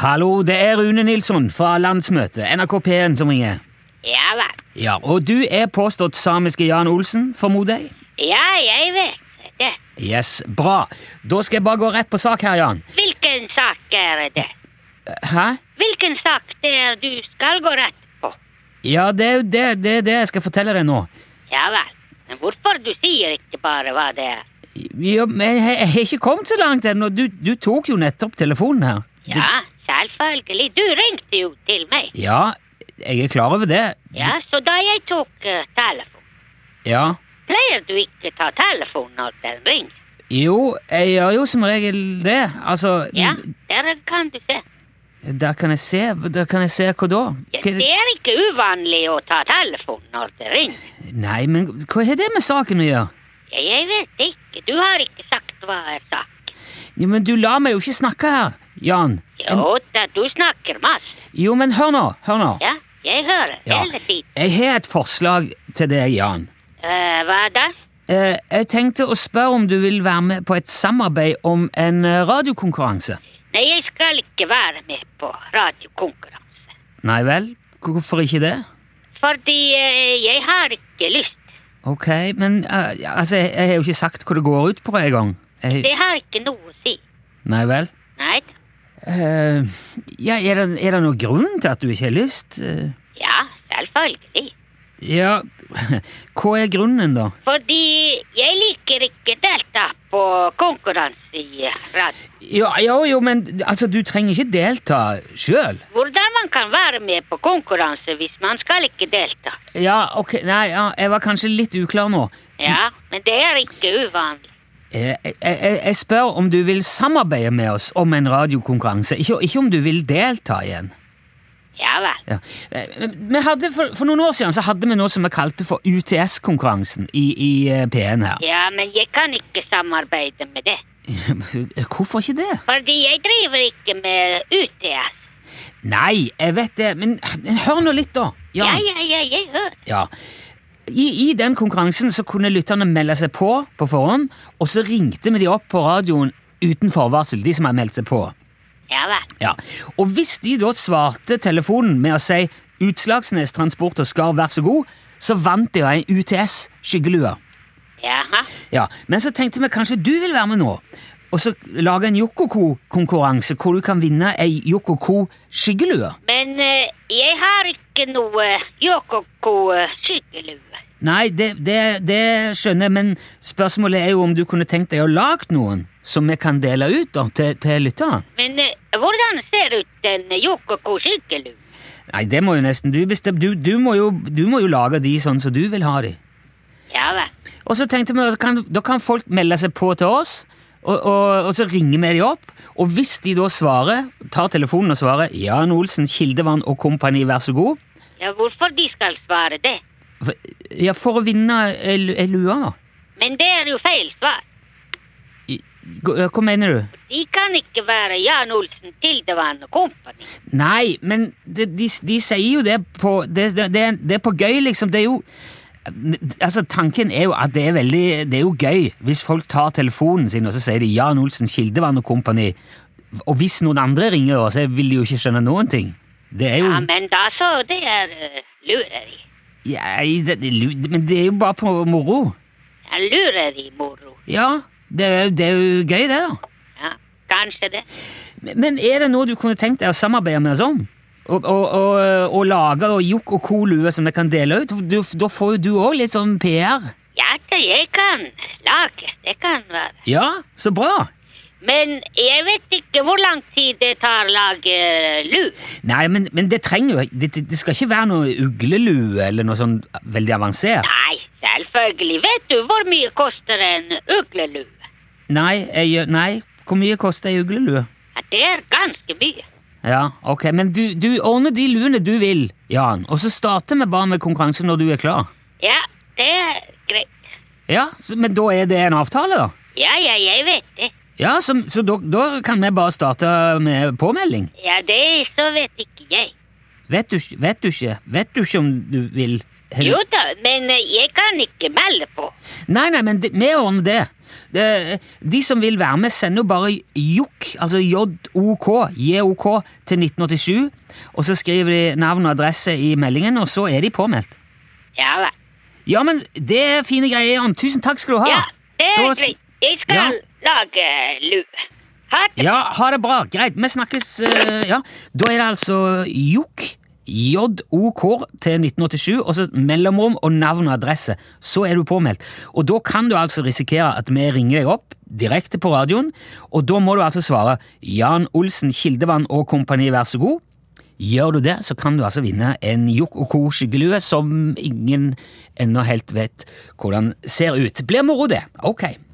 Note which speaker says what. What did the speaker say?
Speaker 1: Hallo, det er Rune Nilsson fra landsmøtet, NRK P1 som ringer.
Speaker 2: Ja vel.
Speaker 1: Ja, Og du er påstått samiske Jan Olsen, formoder jeg?
Speaker 2: Ja, jeg vet det.
Speaker 1: Yes, bra. Da skal jeg bare gå rett på sak her, Jan.
Speaker 2: Hvilken sak er det?
Speaker 1: Hæ?
Speaker 2: Hvilken sak det er du skal gå rett på?
Speaker 1: Ja, det er jo det, det, er det jeg skal fortelle deg nå.
Speaker 2: Ja vel. Men hvorfor du sier ikke bare hva det er?
Speaker 1: Ja, men jeg, jeg har ikke kommet så langt ennå. Du, du tok jo nettopp telefonen her.
Speaker 2: Ja, selvfølgelig. Du ringte jo til meg.
Speaker 1: Du, ja, jeg er klar over det.
Speaker 2: Ja, så da jeg tok eh, telefon.
Speaker 1: Ja.
Speaker 2: Pleier du ikke ta telefon når den ringer?
Speaker 1: Jo, jeg gjør jo som regel det. Altså
Speaker 2: Ja, der kan du se.
Speaker 1: Der kan jeg se. Der kan jeg se hva da?
Speaker 2: Ja,
Speaker 1: Hva
Speaker 2: Det
Speaker 1: er det-
Speaker 2: er ikke uvanlig å ta telefon når det ringer.
Speaker 1: Nei, men hva har det med saken å gjøre?
Speaker 2: Ja, jeg vet ikke. Du har ikke sagt hva er sak.
Speaker 1: Ja, men du lar meg jo ikke snakke her, Jan. En-
Speaker 2: Jo, da, du snakker masse.
Speaker 1: Jo, men hør nå, hør nå.
Speaker 2: Ja, jeg hører
Speaker 1: Ja.
Speaker 2: hele tiden.
Speaker 1: Jeg har et forslag til deg, Jan.
Speaker 2: Eh, hva da?
Speaker 1: Eh, jeg tenkte å spørre om du vil være med på et samarbeid om en eh, radiokonkurranse.
Speaker 2: Nei, jeg skal ikke være med på radiokonkurranse.
Speaker 1: Nei vel? Hvorfor ikke det?
Speaker 2: Fordi eh, jeg har ikke lyst.
Speaker 1: Ok, men eh, ja, altså, jeg, jeg har jo ikke sagt hva det går ut på engang. Jeg-
Speaker 2: Det har ikke noe å si.
Speaker 1: Nei vel?
Speaker 2: Nei da.
Speaker 1: Eh, ja, er det, er det noen grunn til at du ikke har lyst? Eh,
Speaker 2: Ja, selvfølgelig.
Speaker 1: ja, hva er grunnen, da?
Speaker 2: Fordi jeg liker ikke delta på konkurranse i radio.
Speaker 1: Jo, jo, jo men altså, du trenger ikke delta sjøl.
Speaker 2: Hvordan man kan være med på konkurranse hvis man skal ikke delta?
Speaker 1: Ja, ok, nei, ja, jeg var kanskje litt uklar nå.
Speaker 2: Ja, men det er ikke uvanlig.
Speaker 1: Eh, Jeg, jeg, jeg spør om du vil samarbeide med oss om en radiokonkurranse, ikke, ikke om du vil delta igjen.
Speaker 2: Ja vel.
Speaker 1: Ja. Eh, Vi hadde, for, for noen år siden så hadde vi noe som vi kalte for UTS-konkurransen i, i eh, P1 her.
Speaker 2: Ja, men jeg kan ikke samarbeide med det.
Speaker 1: Hvorfor ikke det?
Speaker 2: Fordi jeg driver ikke med UTS.
Speaker 1: Nei, jeg vet det, men, men hør nå litt, da.
Speaker 2: Ja,
Speaker 1: Jan.
Speaker 2: ja, ja, jeg hører.
Speaker 1: Ja. I, I den konkurransen så kunne lytterne melde seg på på forhånd, og så ringte vi de opp på radioen uten forvarsel, de som hadde meldt seg på.
Speaker 2: Ja vel.
Speaker 1: Ja. Og hvis de da svarte telefonen med å si Utslagsnes Transport og Skar, vær så god, så vant de ei UTS skyggelue.
Speaker 2: Jaha.
Speaker 1: Ja, Men så tenkte vi kanskje du vil være med nå, og så lage en Jokoko-konkurranse hvor du kan vinne ei Jokoko skyggelue.
Speaker 2: Men eh, jeg har ikke noe Yokoko-sykkelue.
Speaker 1: Nei, det, det, det skjønner jeg, men spørsmålet er jo om du kunne tenkt deg å lage noen som vi kan dele ut da, til, til lytterne.
Speaker 2: Men eh, hvordan ser ut en Yokoko-sykkelue?
Speaker 1: Nei, det må jo nesten du bestemme. Du, du, må jo, du må jo lage de sånn som du vil ha de.
Speaker 2: Ja vel.
Speaker 1: Og så tenkte vi, da kan, da kan folk melde seg på til oss, og, og, og så ringer vi de opp, og hvis de da svarer, tar telefonen og svarer Jan Olsen, Kildevann og kompani, vær så god,
Speaker 2: Ja, hvorfor de skal svare det?
Speaker 1: for, ja, for å vinne ei lu- ei lue, da.
Speaker 2: Men det er jo feil svar.
Speaker 1: I- Hva eh, hva mener du?
Speaker 2: De kan ikke være Jan Olsen, Tildevann og kompani.
Speaker 1: Nei, men de, de, de sier jo det på det, det, det, er- det er på gøy, liksom. Det er jo Altså, Tanken er jo at det er veldig Det er jo gøy hvis folk tar telefonen sin og så sier de Jan Olsen, Kildevann og kompani. Og hvis noen andre ringer, da, så vil de jo ikke skjønne noen ting. Det er jo
Speaker 2: Ja, men da så, det er eh, lureri.
Speaker 1: Ja, det, det, lu- Men det er jo bare på moro.
Speaker 2: Ja, lureri, moro.
Speaker 1: Ja, det er, jo- det er jo gøy, det, da.
Speaker 2: Ja, kanskje det.
Speaker 1: Men er det noe du kunne tenkt deg å samarbeide med oss om? Og, og, og, og lage og jokk og kolue som vi kan dele ut? Du, da får jo du òg litt sånn PR.
Speaker 2: Ja, det jeg kan lage. Det kan være.
Speaker 1: Ja, så bra.
Speaker 2: Men jeg vet ikke hvor lang tid det tar å lage lu.
Speaker 1: Nei, men, men det trenger jo det, det skal ikke være noe uglelue eller noe sånn veldig avansert.
Speaker 2: Nei, selvfølgelig. Vet du hvor mye koster en uglelue?
Speaker 1: Nei, jeg, gjør- nei. hvor mye koster ei uglelue?
Speaker 2: Ja, det er ganske mye.
Speaker 1: Ja, ok, men du, du ordner de luene du vil, Jan, og så starter vi bare med konkurranse når du er klar.
Speaker 2: Ja, det er greit.
Speaker 1: Ja, så, Men da er det en avtale, da?
Speaker 2: Ja, ja, jeg vet det.
Speaker 1: Ja, Så, så da, da kan vi bare starte med påmelding?
Speaker 2: Ja, det så vet ikke jeg.
Speaker 1: Vet du, ikke- vet du ikke? Vet du ikke om du vil Har du-
Speaker 2: Jo da, men eh, jeg kan ikke melde på.
Speaker 1: Nei, nei, men det- vi ordner det. det. De som vil være med, sender jo bare JOK, altså J-O-K, J-O-K, til 1987, og så skriver de navn og adresse i meldingen, og så er de påmeldt.
Speaker 2: Ja vel.
Speaker 1: Ja, men det er fine greier, Jan. Tusen takk skal du ha.
Speaker 2: Ja, det er
Speaker 1: Da s-
Speaker 2: greit. Jeg skal
Speaker 1: Ah, Ja.
Speaker 2: lage lue. Ha det.
Speaker 1: Ja, ha det bra. Greit, vi snakkes. eh, ja. Da er det altså JOK. J-O-K til 1987, og så mellomrom og navn og adresse. Så er du påmeldt. Og da kan du altså risikere at vi ringer deg opp direkte på radioen, og da må du altså svare Jan Olsen, Kildevann og kompani, vær så god. Gjør du det, så kan du altså vinne en Jokk og Co. skyggelue som ingen ennå helt vet hvordan ser ut. Blir moro, det. Ok.